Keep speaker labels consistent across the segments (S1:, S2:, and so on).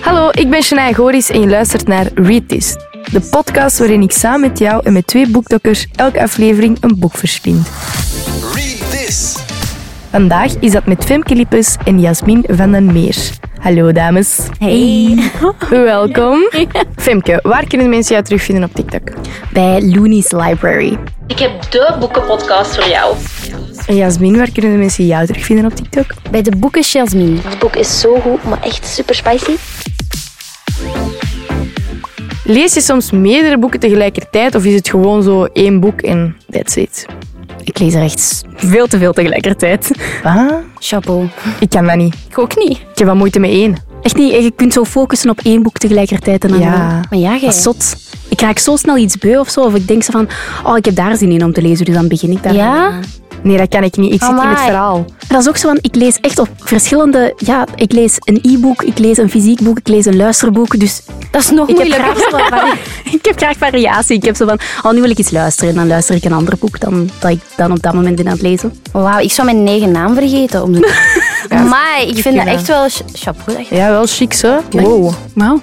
S1: Hallo, ik ben Shania Goris en je luistert naar Read This. De podcast waarin ik samen met jou en met twee boekdokkers elke aflevering een boek verslind.
S2: Read this.
S1: Vandaag is dat met Femke Lippes en Jasmin van den Meer. Hallo dames.
S3: Hey.
S1: Welkom. Femke, waar kunnen mensen jou terugvinden op TikTok?
S3: Bij Looney's Library.
S4: Ik heb de boekenpodcast voor jou.
S1: En Jasmin, waar kunnen de mensen jou terugvinden op TikTok?
S3: Bij de boeken Jasmine.
S4: Het boek is zo goed, maar echt super spicy.
S1: Lees je soms meerdere boeken tegelijkertijd of is het gewoon zo één boek en that's it?
S3: Ik lees er echt veel te veel tegelijkertijd.
S1: Wat?
S3: Chapeau.
S1: Ik kan dat niet.
S3: Ik ook niet.
S1: Ik heb wat moeite met één.
S3: Echt niet. Je kunt zo focussen op één boek tegelijkertijd en dan
S1: Ja.
S3: Maar ja, jij. Dat is zot. Ik raak zo snel iets beu of zo. Of ik denk zo van, oh, ik heb daar zin in om te lezen. Dus dan begin ik daar.
S5: Ja?
S1: Nee, dat kan ik niet. Ik zit in het
S5: Amai.
S1: verhaal.
S3: Dat is ook zo van, ik lees echt op verschillende... Ja, ik lees een e-book, ik lees een fysiek boek, ik lees een luisterboek. Dus
S5: Dat is nog
S3: ik heb,
S5: moeilijker.
S3: graag zo wat vari- ik heb graag variatie. Ik heb zo van, oh, nu wil ik iets luisteren. En dan luister ik een ander boek dan dat ik dan op dat moment ben aan het lezen.
S5: Wauw, ik zou mijn eigen naam vergeten. Om de... maar ik vind dat
S1: gedaan.
S5: echt wel ch- chapeau. dat je-
S1: Ja, wel chic, hè? Wow. Nou?
S3: Wauw.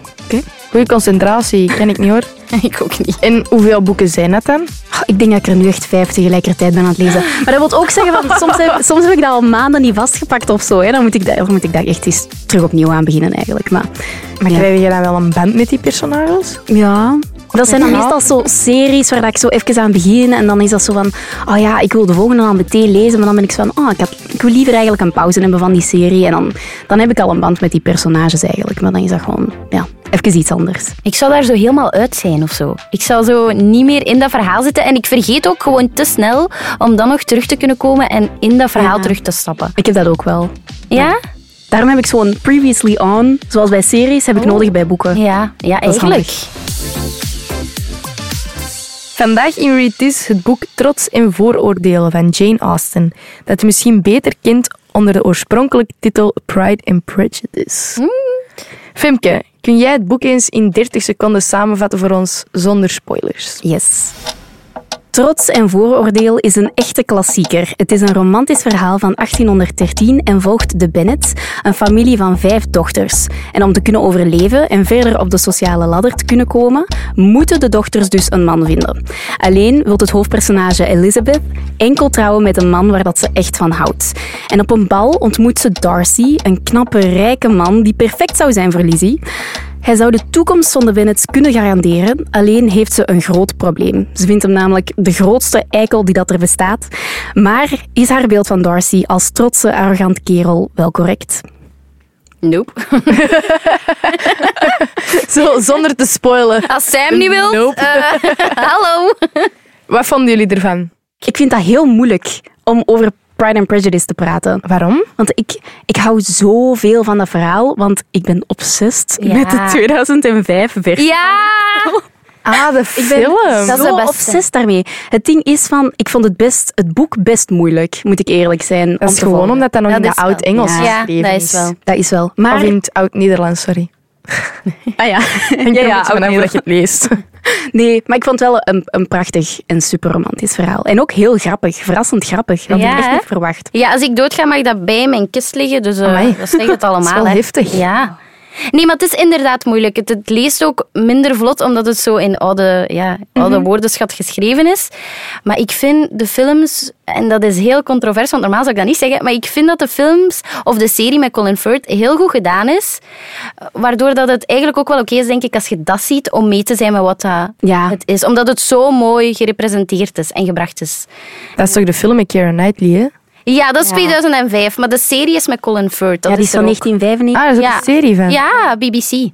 S1: Goeie concentratie, ken ik niet hoor.
S3: ik ook niet.
S1: En hoeveel boeken zijn dat dan?
S3: Oh, ik denk dat ik er nu echt vijf tegelijkertijd ben aan het lezen. Maar dat wil ook zeggen, van, soms, heb, soms heb ik dat al maanden niet vastgepakt of zo. Hè. Dan, moet ik dat, dan moet ik daar echt eens terug opnieuw aan beginnen eigenlijk. Maar,
S1: Maar
S3: ja.
S1: krijg je dan wel een band met die personages?
S3: ja... Dat zijn dan
S1: Ja.
S3: meestal zo series waar dat ik zo even aan begin en dan is dat zo van, oh ja, ik wil de volgende al meteen lezen, maar dan ben ik zo van, oh, ik, had, ik wil liever eigenlijk een pauze hebben van die serie en dan, dan heb ik al een band met die personages eigenlijk, maar dan is dat gewoon, ja, even iets anders.
S5: Ik zou daar zo helemaal uit zijn of zo. Ik zou zo niet meer in dat verhaal zitten. En ik vergeet ook gewoon te snel om dan nog terug te kunnen komen en in dat verhaal
S3: Ja.
S5: terug te stappen.
S3: Ik heb dat ook wel.
S5: Ja?
S3: Daarom heb ik zo'n previously on, zoals bij series, heb ik nodig bij boeken.
S5: Ja, ja
S3: Dat is
S5: eigenlijk.
S1: Vandaag in Read This het boek Trots en Vooroordelen van Jane Austen, dat je misschien beter kent onder de oorspronkelijke titel Pride and Prejudice. Mm. Femke, kun jij het boek eens in 30 seconden samenvatten voor ons zonder spoilers?
S3: Yes. Trots en vooroordeel is een echte klassieker. Het is een romantisch verhaal van 1813 en volgt de Bennets, een familie van vijf dochters. En om te kunnen overleven en verder op de sociale ladder te kunnen komen, moeten de dochters dus een man vinden. Alleen wil het hoofdpersonage Elizabeth enkel trouwen met een man waar dat ze echt van houdt. En op een bal ontmoet ze Darcy, een knappe, rijke man die perfect zou zijn voor Lizzie. Hij zou de toekomst van de Bennets kunnen garanderen, alleen heeft ze een groot probleem. Ze vindt hem namelijk de grootste eikel die dat er bestaat. Maar is haar beeld van Darcy als trotse, arrogant kerel wel correct?
S5: Nope.
S1: Zo, zonder te spoilen.
S5: Als zij hem niet wil,
S1: Nope.
S5: hallo.
S1: Ah, Eh, Wat vonden jullie ervan?
S3: Ik vind dat heel moeilijk om over Pride and Prejudice te praten.
S1: Waarom?
S3: Want ik, ik hou zoveel van dat verhaal, want ik ben obsessed
S5: Ja.
S3: met de 2005 versie.
S5: Ja!
S1: Ah, de
S3: Ik ben
S1: film.
S5: Dat
S3: zo
S5: is de beste.
S3: obsessed daarmee. Het ding is van, ik vond het, best, het boek best moeilijk, moet ik eerlijk zijn. om
S1: Dat is
S3: te volgen.
S1: gewoon omdat dat nog
S5: Dat
S1: in het
S5: is wel-
S1: oud-Engels
S5: Ja,
S1: geschreven
S5: dat is wel.
S3: Dat is wel. Maar
S1: Of in het oud-Nederlands, sorry.
S3: Ah ja.
S1: Denk
S3: ja,
S1: er een beetje
S3: oké.
S1: vanaf dat je het leest.
S3: Nee, maar ik vond het wel een, een prachtig en super romantisch verhaal. En ook heel grappig, verrassend grappig. Dat had
S5: Ja,
S3: ik echt
S5: hè?
S3: niet verwacht.
S5: Ja, als ik doodga mag dat bij mijn kist liggen, dus eh,
S1: Amai.
S5: dat zegt het allemaal.
S1: Dat is wel
S5: hè.
S1: heftig.
S5: Ja. Nee, maar het is inderdaad moeilijk. Het, het leest ook minder vlot, omdat het zo in oude, ja,
S1: Mhm.
S5: oude woordenschat geschreven is. Maar ik vind de films, en dat is heel controvers, want normaal zou ik dat niet zeggen, maar ik vind dat de films of de serie met Colin Firth heel goed gedaan is. Waardoor dat het eigenlijk ook wel oké is, denk ik, als je dat ziet, om mee te zijn met wat dat
S3: Ja.
S5: het is. Omdat het zo mooi gerepresenteerd is en gebracht is.
S1: Dat is toch de film met Keira Knightley, hè?
S5: Ja, dat is 2005, maar de serie is met Colin Firth. Dat
S3: ja, die
S5: is
S3: is van
S5: er ook.
S3: 1995.
S1: Ah, daar is ook
S5: Ja.
S1: een serie van.
S5: Ja, BBC.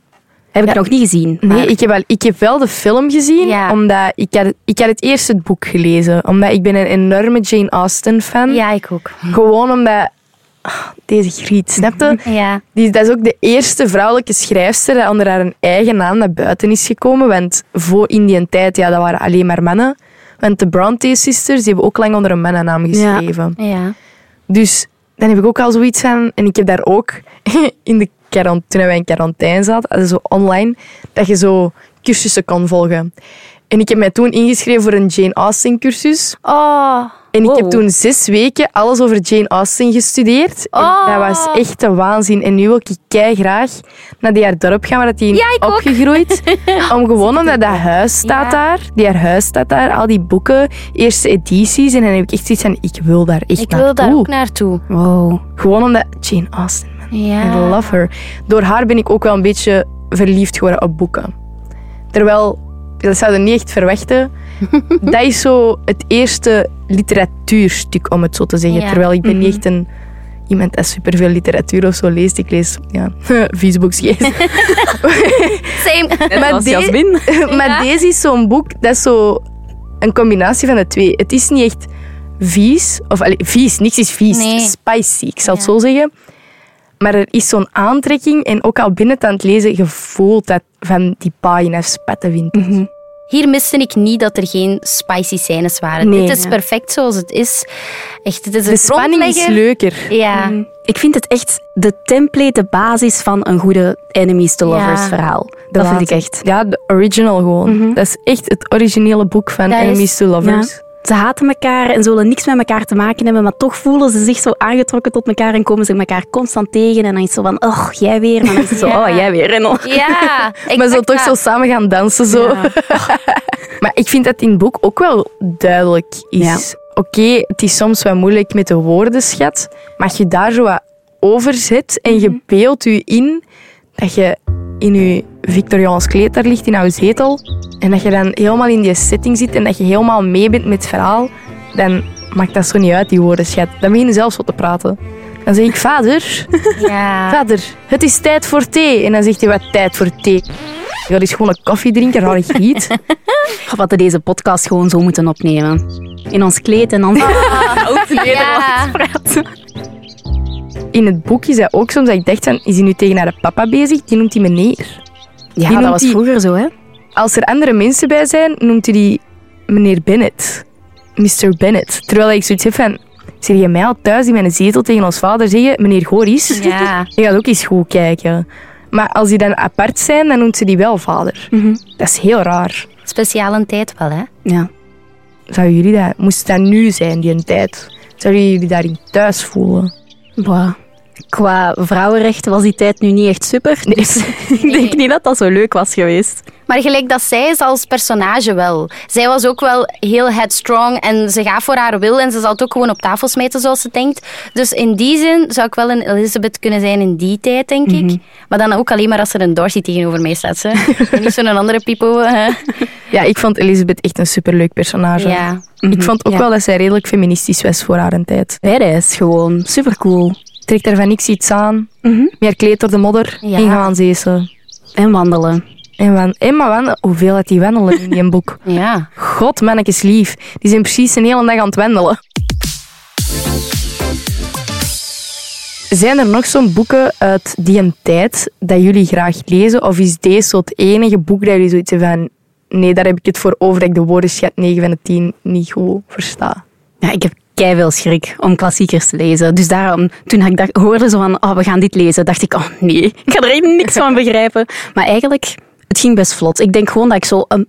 S3: heb ik nog niet gezien.
S1: Nee,
S3: maar-
S1: ik heb, wel, ik heb wel de film gezien,
S5: Ja.
S1: omdat ik had, ik had het eerst het boek gelezen. Omdat ik ben een enorme Jane Austen-fan.
S5: Ja, ik ook.
S1: Gewoon omdat... ah, Deze griet, snapte?
S5: Ja.
S1: Die, dat is ook de eerste vrouwelijke schrijfster die onder haar eigen naam naar buiten is gekomen. Want voor in die tijd, ja, dat waren alleen maar mannen. Want de Bronte Sisters die hebben ook lang onder een mannennaam geschreven.
S5: Ja.
S1: Dus dan heb ik ook al zoiets aan. En ik heb daar ook in de quarant- toen wij in quarantaine zaten, hadden ze zo online, dat je zo cursussen kon volgen. En ik heb mij toen ingeschreven voor een Jane Austen cursus.
S5: Oh.
S1: En ik
S5: Wow.
S1: heb toen zes weken alles over Jane Austen gestudeerd.
S5: Oh.
S1: En dat was echt de waanzin. En nu wil ik kei graag naar die haar dorp gaan, waar dat die
S5: Ja,
S1: is
S5: ik ook.
S1: opgegroeid. om gewoon omdat dat huis staat
S5: Ja.
S1: daar. Die haar huis staat daar. Al die boeken, eerste edities. En dan heb ik echt zoiets van, ik wil daar echt
S5: Ik wil
S1: naartoe.
S5: daar ook naartoe.
S3: Wow.
S1: Gewoon omdat Jane Austen, man. I
S5: Ja.
S1: love her. Door haar ben ik ook wel een beetje verliefd geworden op boeken. Terwijl, dat zouden we niet echt verwachten. dat is zo het eerste literatuurstuk, om het zo te zeggen.
S5: Ja. Mhm.
S1: Terwijl ik ben niet echt een, iemand dat superveel literatuur of zo leest. Ik lees, ja, viesboekjes.
S5: Same.
S1: Maar
S3: als
S1: die-
S3: Jasmin.
S1: maar
S5: Ja.
S1: deze is zo'n boek, dat is zo een combinatie van de twee. Het is niet echt vies, of allee, vies, niks is vies.
S5: Nee.
S1: Spicy, ik zal het
S5: Ja.
S1: zo zeggen. Maar er is zo'n aantrekking en ook al binnen het aan het lezen, je voelt dat van die pagina's spatten vindt.
S5: Hier miste ik niet dat er geen spicy scènes waren.
S1: Nee.
S5: Dit is
S1: Ja.
S5: perfect zoals het is. Echt, het is een
S1: De spanning is Mm.
S5: grondlegger.
S1: leuker.
S5: Ja.
S3: Ik vind het echt de template, de basis van een goede enemies to lovers
S5: Ja.
S3: verhaal.
S1: De
S3: Dat vind ik
S1: laatste.
S3: echt.
S1: Ja, de original gewoon. Dat is echt het originele boek van
S5: Dat is-
S1: Enemies to Lovers.
S3: Ja. Ze haten elkaar en zullen niks met elkaar te maken hebben, maar toch voelen ze zich zo aangetrokken tot elkaar en komen ze elkaar constant tegen. En dan is het zo van, oh, jij weer. Maar dan is het zo,
S5: Ja.
S3: oh, jij weer. En dan...
S5: Ja, ik
S1: maar zo
S5: pak
S1: toch
S5: dat.
S1: zo samen gaan dansen. Zo. maar ik vind dat in het boek ook wel duidelijk is. Oké, het is soms wat moeilijk met de woordenschat, maar je daar zo wat over zet en
S5: Mhm.
S1: je beeldt je in dat je in je Victoriaans kleed daar ligt, in jouw zetel, en dat je dan helemaal in die setting zit en dat je helemaal mee bent met het verhaal, dan maakt dat zo niet uit, die woordenschat. Dan begin je zelfs wat te praten. Dan zeg ik, vader,
S5: Ja.
S1: Vader, het is tijd voor thee. En dan zegt hij, wat tijd voor thee? Dat is gewoon een koffiedrinker, raar giet.
S3: Of wat we deze podcast gewoon zo moeten opnemen. In ons kleed en dan... Ah, ook
S5: Ja.
S1: In het boek is dat ook soms dat ik dacht van, is hij nu tegen haar papa bezig? Die noemt hij meneer.
S3: Ja,
S1: noemt
S3: dat was
S1: die-
S3: vroeger zo, hè.
S1: Als er andere mensen bij zijn, noemt hij die meneer Bennett. Mr. Bennett. Terwijl ik zoiets heb van, zeg je mij al thuis in mijn zetel tegen ons vader zeggen, meneer Goris?
S5: Ja.
S1: Je gaat ook eens goed kijken. Maar als die dan apart zijn, dan noemt ze die wel vader. Dat is heel raar.
S5: Speciaal een tijd wel, hè?
S3: Ja.
S1: Zouden jullie dat, moest dat nu zijn, die een tijd? Zouden jullie daarin thuis voelen?
S3: Bah. Qua vrouwenrechten was die tijd nu niet echt super. Dus ik denk niet dat dat zo leuk was geweest.
S5: Maar gelijk dat zij is als personage wel. Zij was ook wel heel headstrong en ze gaat voor haar wil en ze zal het ook gewoon op tafel smijten zoals ze denkt. Dus in die zin zou ik wel een Elizabeth kunnen zijn in die tijd, denk ik. Maar dan ook alleen maar als er een Dorothy tegenover mij staat. Ze. En niet zo'n andere pipo. hè.
S1: Ja, ik vond Elisabeth echt een superleuk personage.
S5: Ja.
S1: Ik vond ook
S3: Ja.
S1: wel dat zij redelijk feministisch was voor haar een tijd.
S3: Badass, gewoon. Supercool.
S1: Trekt daar van niks iets aan, meer kleed door de modder
S5: Mhm. Ja.
S1: en gaan zeessen.
S3: En wandelen.
S1: En, wan- en maar wan- hoeveel had die wandelen in die boek?
S5: Ja.
S1: God, mannetjes lief. Die zijn precies een hele dag aan het wandelen. Zijn er nog zo'n boeken uit die een tijd dat jullie graag lezen? Of is deze zo het enige boek dat jullie zoiets hebben van... Nee, daar heb ik het voor over dat ik de woordenschat 9 van de 10 niet goed versta.
S3: Ja, ik heb veel schrik om klassiekers te lezen. Dus daarom, toen ik dacht, hoorde zo van, oh, we gaan dit lezen, dacht ik, oh nee, ik ga er echt niks van begrijpen. Maar eigenlijk, het ging best vlot. Ik denk gewoon dat ik zo, ehm,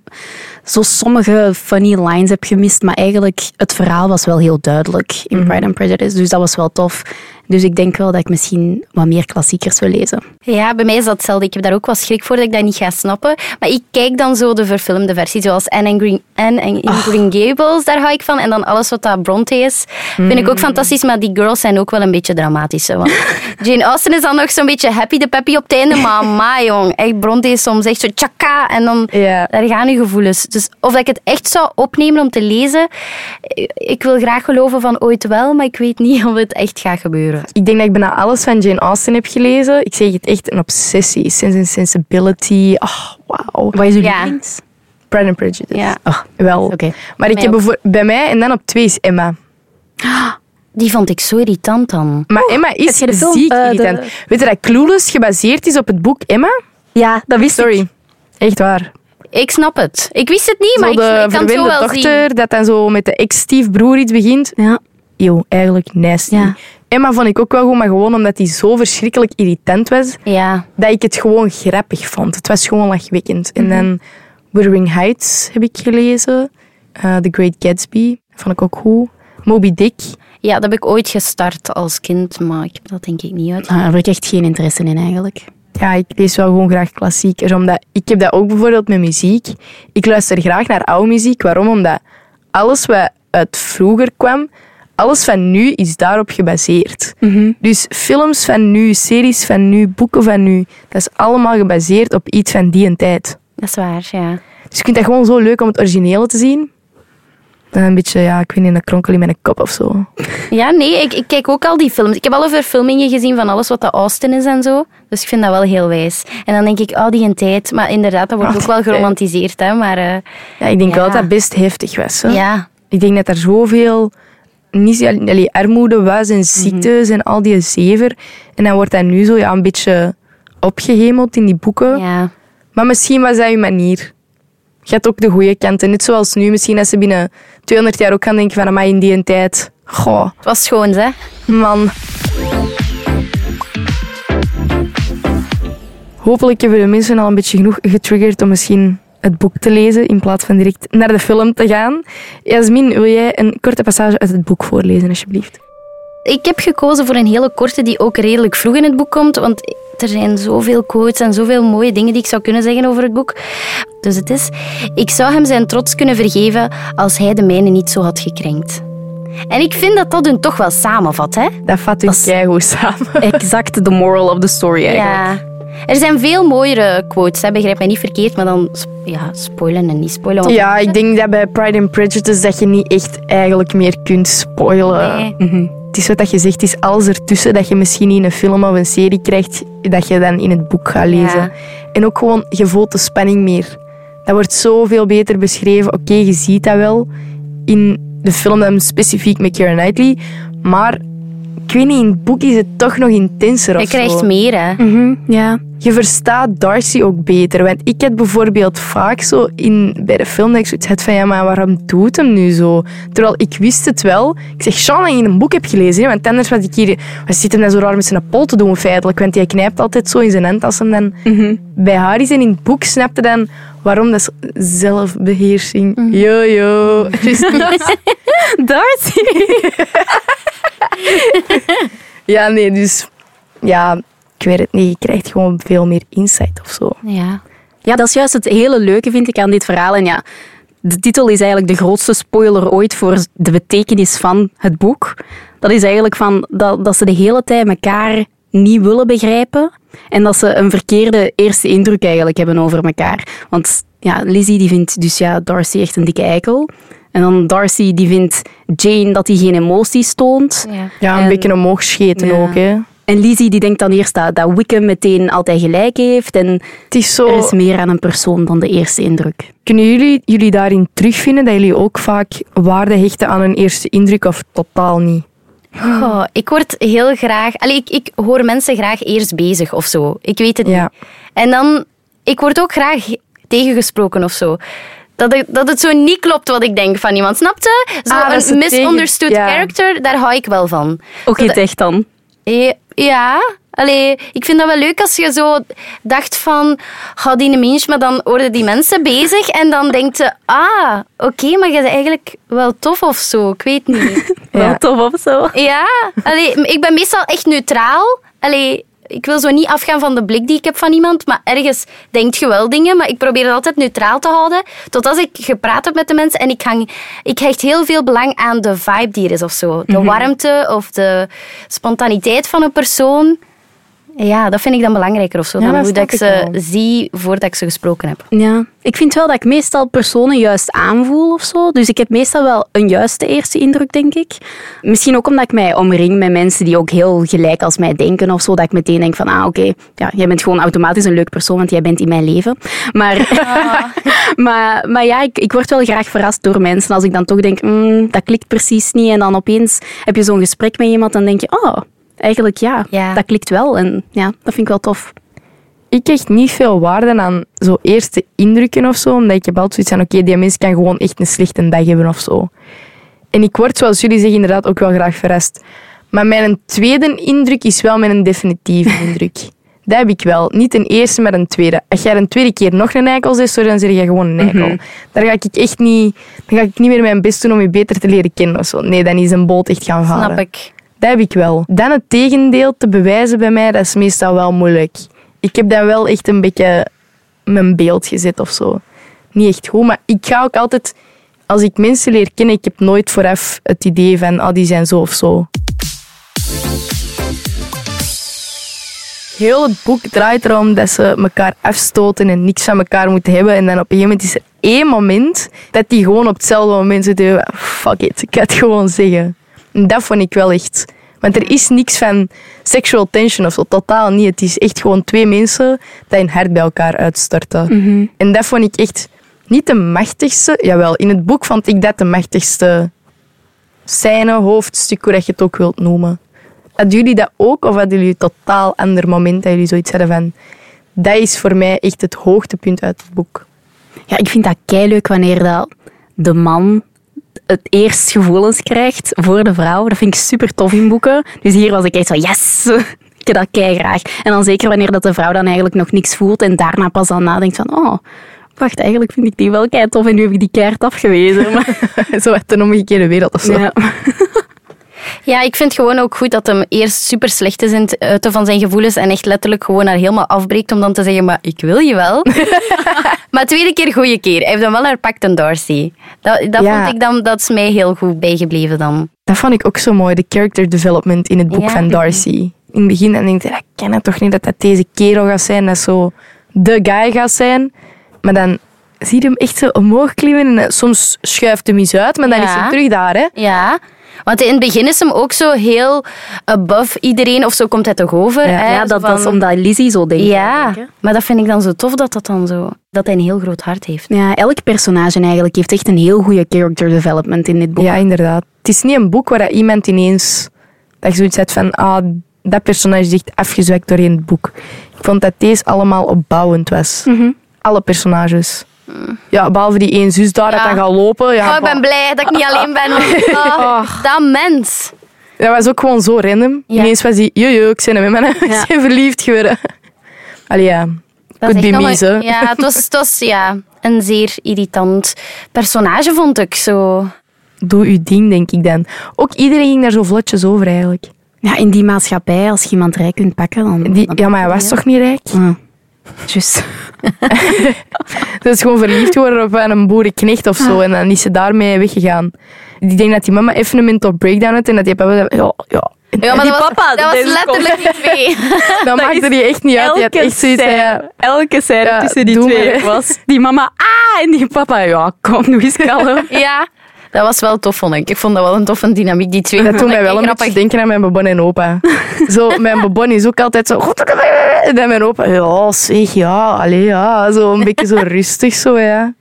S3: zo sommige funny lines heb gemist, maar eigenlijk, het verhaal was wel heel duidelijk in Pride and Prejudice, dus dat was wel tof. Dus ik denk wel dat ik misschien wat meer klassiekers wil lezen.
S5: Ja, bij mij is dat hetzelfde. Ik heb daar ook wel schrik voor dat ik dat niet ga snappen. Maar ik kijk dan zo de verfilmde versie, zoals Anne en Green, Anne en in Green Gables, daar hou ik van. En dan alles wat dat Bronte is, vind ik ook fantastisch. Maar die girls zijn ook wel een beetje dramatisch. hè, Want Jane Austen is dan nog zo'n beetje happy de peppy op het einde. Maar ma, jong, echt Bronte is soms echt zo tjaka. En dan
S1: Ja.
S5: daar gaan uw gevoelens. Dus of dat ik het echt zou opnemen om te lezen, eh, ik wil graag geloven van ooit wel, maar ik weet niet of het echt gaat gebeuren.
S1: Ik denk dat ik bijna alles van Jane Austen heb gelezen. Ik zeg het echt een obsessie. Sense and Sensibility. Oh, wauw.
S3: Wat is uw
S5: Ja.
S3: lievelings?
S1: Pride and Prejudice.
S5: Ja.
S1: Wel.
S3: Oké.
S1: Maar ik
S5: Mij
S1: heb
S5: ook.
S1: bijvoor- bij mij en dan op twee is Emma.
S5: Die vond ik zo irritant dan.
S1: Maar Emma is
S3: Oh, heb je de film,
S1: ziek
S3: eh, de-
S1: irritant. Weet je dat Clueless gebaseerd is op het boek Emma?
S3: Ja, dat wist ik.
S1: Sorry. Echt waar.
S5: Ik snap het. Ik wist het niet, maar
S1: zo
S5: ik, ik
S1: de
S5: kan het zo
S1: verwende
S5: wel
S1: dochter,
S5: zien.
S1: dat dan zo met de ex-stiefbroer iets begint.
S3: Ja.
S1: Yo, eigenlijk nasty.
S3: Ja.
S1: Emma vond ik ook wel goed, maar gewoon omdat hij zo verschrikkelijk irritant was,
S5: Ja.
S1: dat ik het gewoon grappig vond. Het was gewoon lachwekkend. En dan Wuthering Heights heb ik gelezen. eh The Great Gatsby vond ik ook goed. Moby Dick.
S5: Ja, dat heb ik ooit gestart als kind, maar ik heb dat denk ik niet uit.
S3: Ah, daar heb ik echt geen interesse in eigenlijk.
S1: Ja, ik lees wel gewoon graag klassiekers. Omdat, ik heb dat ook bijvoorbeeld met muziek. Ik luister graag naar oude muziek. Waarom? Omdat alles wat uit vroeger kwam, alles van nu is daarop gebaseerd. Dus films van nu, series van nu, boeken van nu, dat is allemaal gebaseerd op iets van die en tijd.
S5: Dat is waar, ja.
S1: Dus ik vind dat gewoon zo leuk om het originele te zien. En een beetje, ja, ik weet niet, een kronkel in mijn kop of zo.
S5: Ja, nee, ik, ik kijk ook al die films. Ik heb alle verfilmingen gezien van alles wat dat Austin is en zo. Dus ik vind dat wel heel wijs. En dan denk ik, oh, die een tijd. Maar inderdaad, dat wordt
S1: Oh,
S5: ook wel
S1: die tijd.
S5: geromantiseerd, hè. Maar eh,
S1: Ja, ik denk wel
S5: Ja.
S1: dat dat best heftig was. Hè?
S5: ja,
S1: Ik denk dat er zoveel niet, allee, armoede was en ziektes
S5: Mhm.
S1: en al die zever. En dan wordt dat nu zo ja, een beetje opgehemeld in die boeken.
S5: ja.
S1: Maar misschien was dat je manier. Je hebt ook de goede kanten. Net zoals nu. Misschien dat ze binnen 200 jaar ook gaan denken van... Amai, in die een tijd... Goh,
S5: Het was schoon, hè.
S1: man. Hopelijk hebben de mensen al een beetje genoeg getriggerd om misschien het boek te lezen in plaats van direct naar de film te gaan. Jasmin, wil jij een korte passage uit het boek voorlezen, alsjeblieft?
S5: Ik heb gekozen voor een hele korte die ook redelijk vroeg in het boek komt. Want er zijn zoveel quotes en zoveel mooie dingen die ik zou kunnen zeggen over het boek. Dus het is... Ik zou hem zijn trots kunnen vergeven als hij de mijne niet zo had gekrenkt. En ik vind dat dat hun toch wel samenvat, hè.
S1: Dat vat u
S3: Dat is-
S1: keigoed samen.
S3: Exact the moral of the story eigenlijk.
S5: Ja. Er zijn veel mooiere quotes, hè. begrijp mij niet verkeerd, maar dan sp- ja, spoilen en niet spoilen. want-
S1: Ja, ik denk dat bij Pride and Prejudice dat je niet echt eigenlijk meer kunt spoilen. Mhm.
S5: Nee.
S1: Het is wat dat je zegt, het is alles ertussen dat je misschien in een film of een serie krijgt, dat je dan in het boek gaat lezen.
S5: Ja.
S1: En ook gewoon, je voelt de spanning meer. Dat wordt zoveel beter beschreven. Oké, je ziet dat wel in de film, dan specifiek met Keira Knightley. Maar ik weet niet, in het boek is het toch nog intenser of
S5: Je krijgt
S1: zo.
S5: meer, hè.
S3: Mhm, ja.
S1: Je verstaat Darcy ook beter. Want ik had bijvoorbeeld vaak zo in, bij de film dat ik zoiets had van ja, maar waarom doet hem nu zo? Terwijl ik wist het wel. Ik zeg, Sean, dat je in een boek hebt gelezen. Hè? Want anders was ik hier... Wat zit hem dan zo raar met zijn pol te doen feitelijk? Want hij knijpt altijd zo in zijn hand als hem dan bij haar is. En in het boek snapte dan waarom dat zo- zelfbeheersing. Yo, yo.
S3: Darcy.
S1: ja, nee, dus... Ja, ik weet het niet. Je krijgt gewoon veel meer insight of zo.
S5: Ja.
S3: Ja, dat is juist het hele leuke, vind ik, aan dit verhaal. En ja, de titel is eigenlijk de grootste spoiler ooit voor de betekenis van het boek. Dat is eigenlijk van dat, dat ze de hele tijd elkaar niet willen begrijpen. En dat ze een verkeerde eerste indruk eigenlijk hebben over elkaar. Want ja, Lizzie die vindt dus ja, Darcy echt een dikke eikel. En dan Darcy die vindt Jane dat hij geen emoties toont.
S5: Ja.
S1: Ja, een
S3: En-
S1: beetje omhoog scheten
S3: Ja.
S1: ook, hè.
S3: En Lizzie die denkt dan eerst dat, dat Wickham meteen altijd gelijk heeft. En
S1: Het is zo...
S3: er is meer aan een persoon dan de eerste indruk.
S1: Kunnen jullie jullie daarin terugvinden dat jullie ook vaak waarde hechten aan een eerste indruk of totaal niet?
S5: Goh, ik word heel graag... Allee, ik, ik hoor mensen graag eerst bezig of zo. Ik weet het
S1: Ja.
S5: niet. En dan... Ik word ook graag tegengesproken of zo. Dat, ik- dat het zo niet klopt wat ik denk van iemand. Snap je? Zo'n
S1: Ah, dat ze
S5: een
S1: tegen-
S5: misunderstood
S1: ja.
S5: character, daar hou ik wel van.
S3: Ook in het echt dan.
S5: Eh, Ja, allee, ik vind dat wel leuk als je zo dacht van, ga die een mens, maar dan worden die mensen bezig en dan denkt ze, ah, oké, maar je bent eigenlijk wel tof of zo, ik weet niet.
S1: Ja.
S3: Wel tof of zo.
S5: ja, allee, ik ben meestal echt neutraal. Allee, ik wil zo niet afgaan van de blik die ik heb van iemand, maar ergens denkt je wel dingen, maar ik probeer het altijd neutraal te houden, tot als ik gepraat heb met de mensen en ik, hang, ik hecht heel veel belang aan de vibe die er is of zo.
S1: Mhm.
S5: De warmte of de spontaniteit van een persoon. Ja, dat vind ik dan belangrijker of zo,
S1: Ja,
S5: dan
S1: dat
S5: hoe dat ik
S1: snap ik
S5: ze
S1: wel.
S5: zie voordat ik ze gesproken heb.
S3: Ja. Ik vind wel dat ik meestal personen juist aanvoel of zo. Dus ik heb meestal wel een juiste eerste indruk, denk ik. Misschien ook omdat ik mij omring met mensen die ook heel gelijk als mij denken of zo. Dat ik meteen denk van, ah oké, ja, jij bent gewoon automatisch een leuk persoon, want jij bent in mijn leven. Maar, Ah. maar, maar ja, ik, ik word wel graag verrast door mensen. Als ik dan toch denk, mm, dat klikt precies niet. En dan opeens heb je zo'n gesprek met iemand en denk je, oh, eigenlijk ja,
S5: Ja.
S3: dat klikt wel. En ja, dat vind ik wel tof.
S1: Ik hecht niet veel waarde aan zo eerste indrukken of zo, omdat ik heb altijd zoiets van, oké, die mens kan gewoon echt een slechte dag hebben of zo. En ik word, zoals jullie zeggen, inderdaad ook wel graag verrast. Maar mijn tweede indruk is wel mijn definitieve indruk. Dat heb ik wel. Niet een eerste, maar een tweede. Als jij een tweede keer nog een eikel is, sorry, dan zeg jij gewoon een eikel. Daar ga ik echt niet... Dan ga ik niet meer mijn best doen om je beter te leren kennen of zo. Nee, dan is een boot echt gaan varen.
S5: Snap ik.
S1: Dat heb ik wel. Dan het tegendeel te bewijzen bij mij, dat is meestal wel moeilijk. Ik heb dan wel echt een beetje mijn beeld gezet of zo. Niet echt goed, maar ik ga ook altijd... Als ik mensen leer kennen, ik heb nooit vooraf het idee van ah, die zijn zo of zo. Heel het boek draait erom dat ze elkaar afstoten en niks van elkaar moeten hebben. En dan op een gegeven moment is er één moment dat die gewoon op hetzelfde moment zitten. van, Fuck it, ik ga het gewoon zeggen. En dat vond ik wel echt. Want er is niks van sexual tension of zo, totaal niet. Het is echt gewoon twee mensen die hun hart bij elkaar uitstorten. En dat vond ik echt niet de machtigste. Jawel, in het boek vond ik dat de machtigste scène, hoofdstuk, hoe dat je het ook wilt noemen. Hadden jullie dat ook of hadden jullie een totaal ander moment dat jullie zoiets hadden van... Dat is voor mij echt het hoogtepunt uit het boek.
S3: Ja, ik vind dat leuk wanneer dat de man het eerst gevoelens krijgt voor de vrouw. Dat vind ik super tof in boeken. Dus hier was ik echt zo, yes! Ik heb dat kei graag. En dan zeker wanneer dat de vrouw dan eigenlijk nog niks voelt en daarna pas aan nadenkt van, oh, wacht, eigenlijk vind ik die wel kei tof en nu heb ik die keihard afgewezen. Maar,
S1: zo uit een omgekeerde wereld of zo.
S3: ja.
S5: Ja, ik vind gewoon ook goed dat hem eerst super slecht is in het uiten van zijn gevoelens en echt letterlijk gewoon haar helemaal afbreekt om dan te zeggen, maar ik wil je wel. maar tweede keer goede keer. Hij heeft dan wel haar pakt een Darcy. Dat, dat
S1: Ja.
S5: vond ik dan, dat is mij heel goed bijgebleven dan.
S1: Dat vond ik ook zo mooi, de character development in het boek
S5: Ja.
S1: van Darcy. In het begin dan denk ik, ik ken het toch niet dat dat deze kerel gaat zijn, dat zo de guy gaat zijn. Maar dan zie je hem echt zo omhoog klimmen en eh, soms schuift hem eens uit, maar dan
S5: Ja.
S1: is hij terug daar. Hè.
S5: Ja. Want in het begin is hem ook zo heel above iedereen, of zo komt hij toch over.
S1: Ja.
S5: hè?
S3: ja, dat, dat is
S5: Van-
S3: omdat Lizzie zo denkt.
S5: Ja, maar dat vind ik dan zo tof dat dat dan zo... Dat hij een heel groot hart heeft.
S3: Ja, elk personage eigenlijk heeft echt een heel goede character development in dit boek.
S1: Ja, inderdaad. Het is niet een boek waar dat iemand ineens dat je zoiets hebt van ah, dat personage is echt afgezwakt doorheen het boek. Ik vond dat deze allemaal opbouwend was.
S5: Mhm.
S1: Alle personages. Ja, behalve die één zus daar
S5: Mm. Ja.
S1: dat dan gaat lopen. Ja,
S5: Oh, ik ben blij dat ik niet alleen ben. want- Oh, Dat mens.
S1: Dat was ook gewoon zo random.
S5: Ja.
S1: Ineens was hij, jojo, ik ben hem en
S3: Ja.
S1: ik ben verliefd geworden. Allee, ja. Could
S5: is
S1: be
S5: echt nog
S1: me,
S5: een-
S1: zo.
S5: Ja, het was, het was ja, een zeer irritant personage, vond ik zo.
S1: Doe uw ding, denk ik dan. Ook iedereen ging daar zo vlotjes over, eigenlijk.
S3: Ja, in die maatschappij, als je iemand rijk kunt pakken, dan...
S1: Die,
S3: dan-
S1: ja, maar hij was toch niet rijk?
S3: Ah. Juist.
S1: Ze is gewoon verliefd geworden op een boerenknecht of zo. En dan is ze daarmee weggegaan. Ik denk dat die mama even een mental breakdown had en dat die papa zei, ja, ja.
S5: Ja, maar
S1: die
S5: dat was,
S1: papa,
S5: dat was
S1: deze
S5: letterlijk die twee.
S1: komt- Dat maakte die echt niet uit. Die had echt zoiets van, ja,
S3: elke scène
S1: Ja, doe maar.
S3: was die mama, ah, en die papa, ja, kom, nu is kalm.
S5: Ja, dat was wel tof, vond ik. Ik vond dat wel een toffe dynamiek, die twee.
S1: dat doet
S5: Vond ik
S1: mij wel
S5: echt
S1: een beetje denken aan mijn babon en opa. Zo, mijn babon is ook altijd zo... En dan mijn opa, ja, zeg, ja, allee, ja. Zo een beetje zo rustig, zo, ja.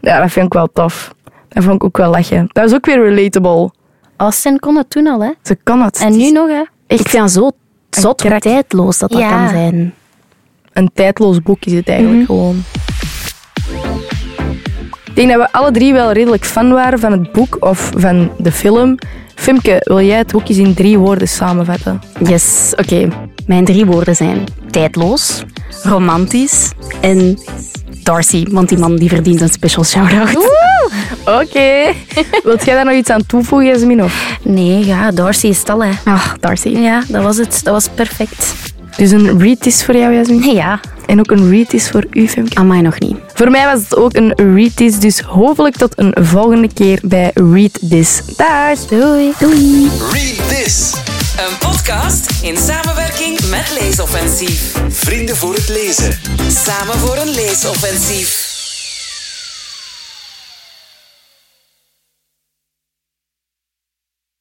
S1: Ja, dat vind ik wel tof. Dat vond ik ook wel lachen. Dat is ook weer relatable.
S5: Austin kon het toen al, hè.
S1: Ze kan dat.
S5: En nu nog, hè.
S3: Ik vind dat zo zot hoe
S1: krak.
S3: tijdloos dat dat
S5: Ja.
S3: kan zijn.
S1: een tijdloos boek is het eigenlijk
S5: Mhm.
S1: gewoon. Ik denk dat we alle drie wel redelijk fan waren van het boek of van de film. Femke, wil jij het boek eens in drie woorden samenvatten?
S3: Yes, oké. Mijn drie woorden zijn tijdloos, romantisch en Darcy. Want die man die verdient een special shout-out.
S1: Oké. Wilt jij daar nog iets aan toevoegen, Jasmin? Of?
S5: Nee, ja, Darcy is het al, hè.
S3: Ah, Darcy.
S5: Ja, dat was het. Dat was perfect.
S1: Dus een read is voor jou, Jasmin.
S5: Ja.
S1: En ook een read is voor u, Femke.
S3: Aan mij nog niet.
S1: Voor mij was het ook een read is, dus hopelijk tot een volgende keer bij Read This. Dag!
S5: Doei. Doei.
S2: Read this.
S6: Een podcast in samenwerking met Leesoffensief.
S2: Vrienden voor het lezen.
S6: Samen voor een leesoffensief.